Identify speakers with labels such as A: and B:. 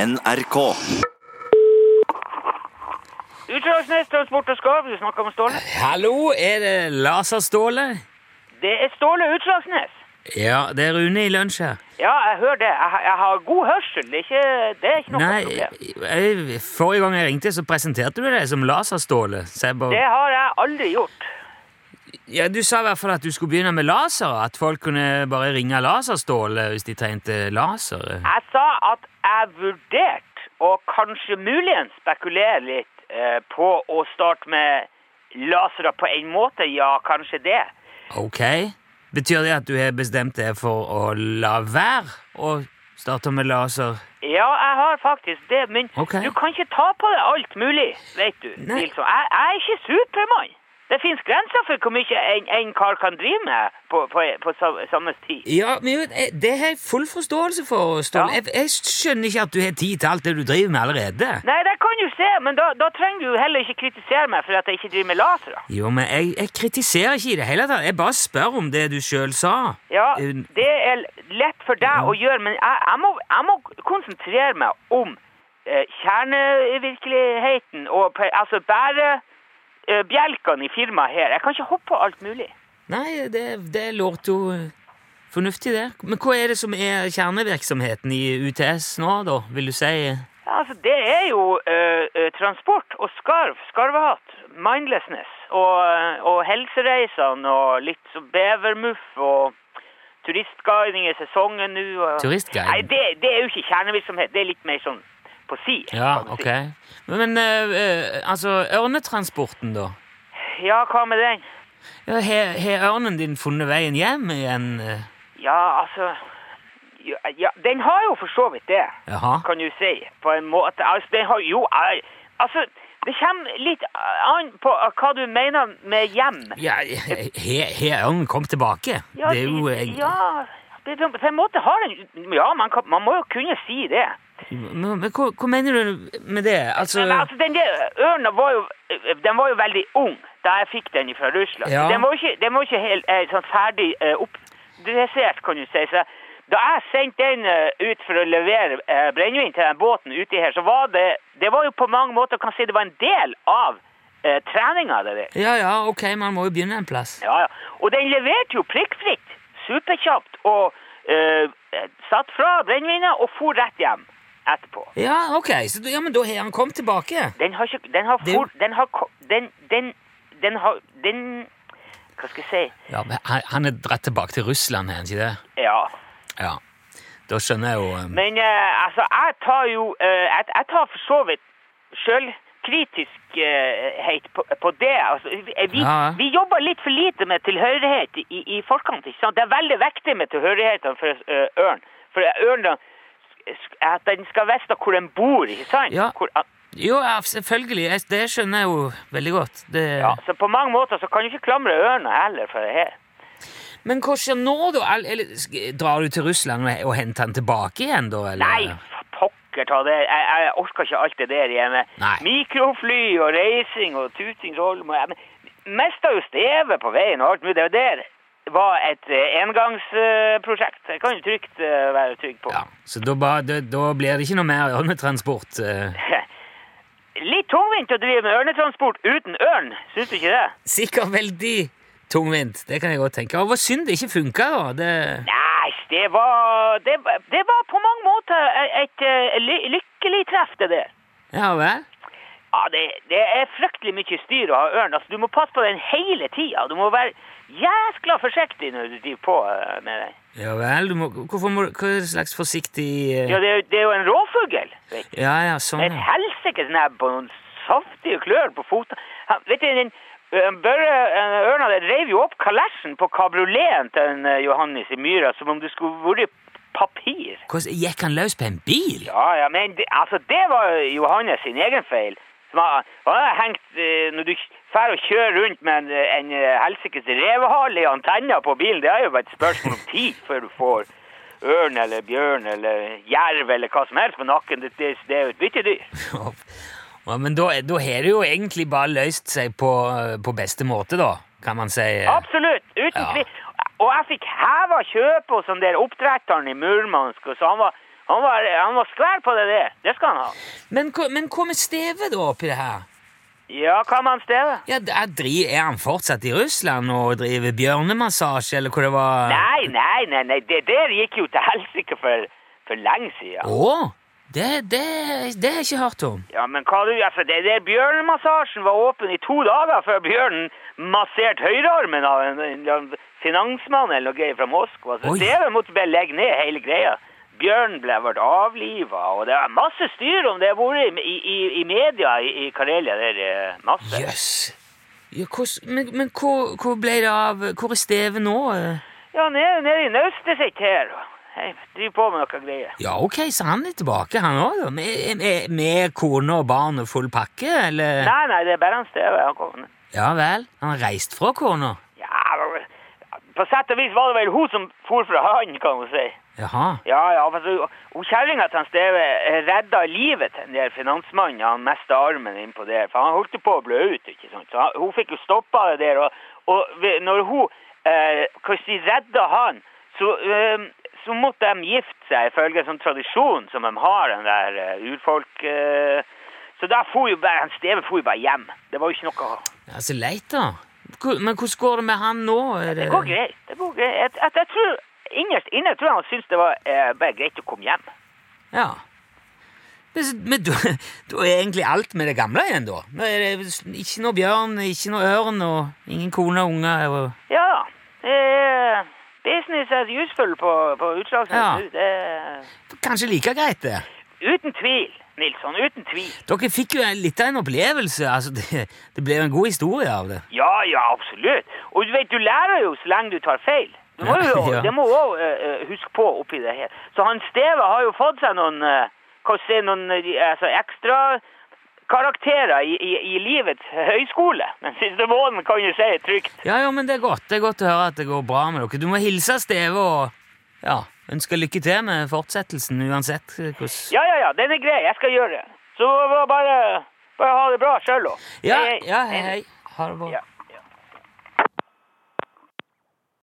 A: NRK.
B: Utslagsnes Transport og Skarv, du snakker om Ståle.
C: Hallo, er det Laserståle?
B: Det er Ståle Utslagsnes.
C: Ja, det er Rune i lunsj her.
B: Ja, jeg hører det. Jeg, har- jeg har god hørsel. Det er ikke, det er ikke noe
C: Nei,
B: problem.
C: jeg, forrige gang jeg ringte, så presenterte du deg som Laserståle. Så jeg
B: Det
C: bare,
B: har jeg aldri gjort.
C: ja, du sa i hvert fall at du skulle begynne med laser, at folk kunne bare ringe Laserståle hvis de tegnte laser.
B: Jeg sa at jeg vurderte og kanskje muligens spekulere litt eh, på å starte med lasere på en måte. Ja, kanskje det.
C: Ok. Betyr det at du har bestemt deg for å la være å starte med laser?
B: Ja, jeg har faktisk det, men
C: Ok.
B: du kan ikke ta på deg alt mulig, vet du.
C: Nei.
B: Nilsson. Jeg, jeg er ikke supermann. Det fins grenser for hvor mye en, en kar kan drive med på, på, på sa- samme tid.
C: Ja, men jo, eh, det har jeg full forståelse for, Ståle.
B: Ja.
C: Jeg, jeg skjønner ikke at du har tid til alt det du driver med allerede.
B: Nei, det kan du se, men da, da trenger du jo heller ikke kritisere meg for at jeg ikke driver med lasere.
C: Jo, men jeg, jeg kritiserer ikke i det hele tatt. Jeg bare spør om det du sjøl sa.
B: Ja,
C: Eh, Mm.
B: det er lett for deg å gjøre, men jeg, jeg, må, jeg må konsentrere meg om eh, kjernevirkeligheten og pe- altså bare eh, bjelkene i firmaet her. Jeg kan ikke hoppe på alt mulig.
C: Nei, det, det låter jo eh, fornuftig, det. Men hva er det som er kjernevirksomheten i UTS nå, da, vil du si?
B: Ja, Altså, det er jo eh, eh, transport og skarv, skarvehatt, mindlessness og, eh, og helsereisene og litt så bevermuff og turistguiding i sesongen nå. og-
C: Turistguiding?
B: Nei, det, det er jo ikke kjernevirksomhet, det er litt mer sånn på si.
C: Ja,
B: kan du
C: ok.
B: si.
C: Men eh, eh, altså, ørnetransporten, da?
B: Ja, hva med den?
C: Ja, Har har ørnen din funnet veien hjem igjen? eh?
B: Ja, altså... Ja, ja, den har jo for så vidt det.
C: Jaha.
B: kan du si, på en måte. Altså, det har jo jeg- Altså, det kommer litt an på hva du mener med hjem.
C: Ja, har har ørnen kommet tilbake?
B: Ja,
C: det er jo eh,
B: Ja, det- det- på en måte har den Ja, man, kan, man må jo kunne si det.
C: Men, men hva, hva mener du med det? Altså
B: Men altså, den der ørna var jo Den var jo veldig ung da jeg fikk den fra Russland.
C: Ja.
B: Den var jo ikke, den var jo ikke helt eh, sånn ferdig eh, oppdressert, kan du si. Så da jeg sendte den eh, ut for å levere eh, brennevin til den båten uti her, så var det Det var jo på mange måter kan si det var en del av eh, treninga. det der.
C: Ja ja, ok, man må jo begynne en plass.
B: Ja, ja. Og den leverte jo prikkfritt, superkjapt, og eh, satt fra brennevinet og for rett hjem etterpå.
C: Ja, ok, så, du- ja, men da har han kommet tilbake.
B: Den har ikke Den har
C: Det-
B: for... Den har ko- Den Den Den har Den Hva skal jeg si?
C: Ja, men han, han er dratt tilbake til Russland, er han ikke det?
B: Ja.
C: Ja. Da skjønner jeg jo eh,
B: Men eh, altså, jeg tar jo eh, jeg, jeg tar for så vidt sjølkritiskhet på, på det. Altså, vi, vi-
C: Ja, ja.
B: vi jobber litt for lite med tilhørighet i, i forkant. ikke sant? Det er veldig viktig med tilhørighetene for eh, ørn. For ørn, da, sk- at den skal vite hvor den bor, ikke sant?
C: Ja.
B: Hvor, at,
C: Jo, ja, selvfølgelig. Jeg, det skjønner jeg jo veldig godt. Det...
B: ja. Så på mange måter så kan du ikke klamre ørna heller for det her.
C: Men hva skjer nå, da? Al- Eller, sk- drar du til Russland og, og henter han tilbake igjen, da? Eller?
B: Nei, f- pokker ta det. Jeg, jeg orker ikke alt det der hjemme.
C: Nei.
B: Mikrofly og reising og tutingsholm og jeg men- Mista jo stevet på veien og alt mulig. Det der var et eh, engangsprosjekt. Det kan du trygt eh, være trygg på.
C: Ja, så da, ba, da, da blir det ikke noe mer ørnetransport? eh.
B: Litt tungvint å drive med ørnetransport uten ørn, syns du ikke det?
C: Sikkert veldig tungvint, det kan jeg godt tenke. Og Hva synd det ikke funka, da. Det...
B: Nei, det var Det, var- det var på mange måter et, et eh, ly- lykkelig treff, det der.
C: Ja vel?
B: Ja, det, det er fryktelig mye styr å ha ørn. Altså, du må passe på den hele tida. Du må være jæskla forsiktig når du driver på eh, med den.
C: Ja vel, du må, hvorfor må du Hva slags forsiktig eh,
B: Ja, det, er jo- det er jo en rovfugl. vet du.
C: Ja ja, sånn,
B: Et
C: ja.
B: helsikes nebb og noen saftige klør på fotene. Han- Vet du, den eh, Børre eh, Ørna den reiv jo opp kalesjen på kabrioleten til en, eh, Johannes i myra som om det skulle vært papir.
C: Hvordan- Gikk han løs på en bil?
B: Ja, ja, men det, altså, det var Johannes sin egen feil. Som har, han har hengt, eh, når du drar og kjører rundt med en, eh, en eh, helsikes revehale i antenna på bilen, det er jo bare et spørsmål om tid før du får ørn eller bjørn eller jerv eller hva som helst på nakken. Det, det, det er jo et byttedyr.
C: Ja, men da, da har det jo egentlig bare løst seg på, på beste måte, da, kan man si.
B: Absolutt, uten
C: Ja.
B: tvil. Og jeg fikk heva kjøpet hos den der oppdretteren i Murmansk, og så han var, Han var, han var skvær på det, det. Det skal han ha.
C: Men, hva- men hva med Steve, da, oppi det her?
B: Ja, hva med han Steve?
C: Ja, der dri- Er han fortsatt i Russland og driver bjørnemassasje, eller hva det var?
B: Nei, nei, nei, nei. Det der gikk jo til helsike for, for lenge siden.
C: Å? Det, det, det har jeg ikke hørt om.
B: Ja, men hva du, altså, det der bjørnmassasjen var åpen i to dager før bjørnen masserte høyrearmen av en, en, en finansmann eller noe greier fra Moskva. Så
C: Oi.
B: Steve måtte bare legge ned hele greia. Bjørnen ble ble avlivet, og det er masse styr om det har vært i, i, i media i, i Karelia. Det er eh, masse.
C: Jøss. Ja, hvordan- men men hvor, hvor ble det av Hvor er Steve nå? eh?
B: Ja, nede, nede i naustet sitt her. Jeg driver på med noe greier.
C: Ja, ok, så han er tilbake, han òg, da? Med, med, med kone og barn og full pakke, eller?
B: Nei, nei, det er bare han Steve. Han kom.
C: Ja vel? Han har reist fra kona?
B: Ja, men- på sett og vis var det vel hun som for fra han, kan du si.
C: Jaha.
B: Ja, ja, for så- hun kjerringa til han Steve redda livet til den der finansmannen. Han mista armen innpå der, for han holdt på å blø ut. ikke sant? Så han, hun fikk jo stoppa det der. Og, og vi- når hun eh, hva skal jeg si, redda han, så, eh, så måtte de gifte seg ifølge en sånn tradisjon som de har, den der eh, urfolk... Eh, så da for jo bare, han Steve for jo bare hjem. Det var jo ikke noe å
C: Ja, så leit, da. Hvor- Men hvordan går det med han nå? Er
B: Det går greit. det går greit. Jeg, jeg, jeg tror, Innerst inne tror jeg han syntes det var eh, bare greit å komme hjem.
C: Ja. Men, så- men da, da er egentlig alt med det gamle igjen, da? Nå er det s- ikke noe bjørn, ikke noe ørn, og ingen kone og unger? Og...
B: Ja. Eh, business as usual på, på utslagsnes
C: Ja.
B: nå. Det,
C: Kanskje like greit, det.
B: uten tvil, Nilsson. Uten tvil.
C: Dere fikk jo en- litt av en opplevelse. altså Det, det ble jo en god historie av det.
B: Ja, ja, absolutt. Og du vet, du lærer jo så lenge du tar feil. Du må jo,
C: Ja.
B: Det må du òg huske på oppi det her. Så han Steve har jo fått seg noen, eh, hva skal jeg si, noen eh, altså, ekstra karakterer i, i, i livets høyskole. Den siste måneden kan du si er trygt.
C: Ja, jo, men det er godt. Det er godt å høre at det går bra med dere. Du må hilse Steve og ja, ønske lykke til med fortsettelsen uansett eh, hvordan
B: Ja, ja, ja, den er grei. Jeg skal gjøre det. Så bare, bare ha det bra sjøl, da.
C: Ja,
B: Hei, hei.
C: ja, hei, hei. Ha det bra.
B: Ja.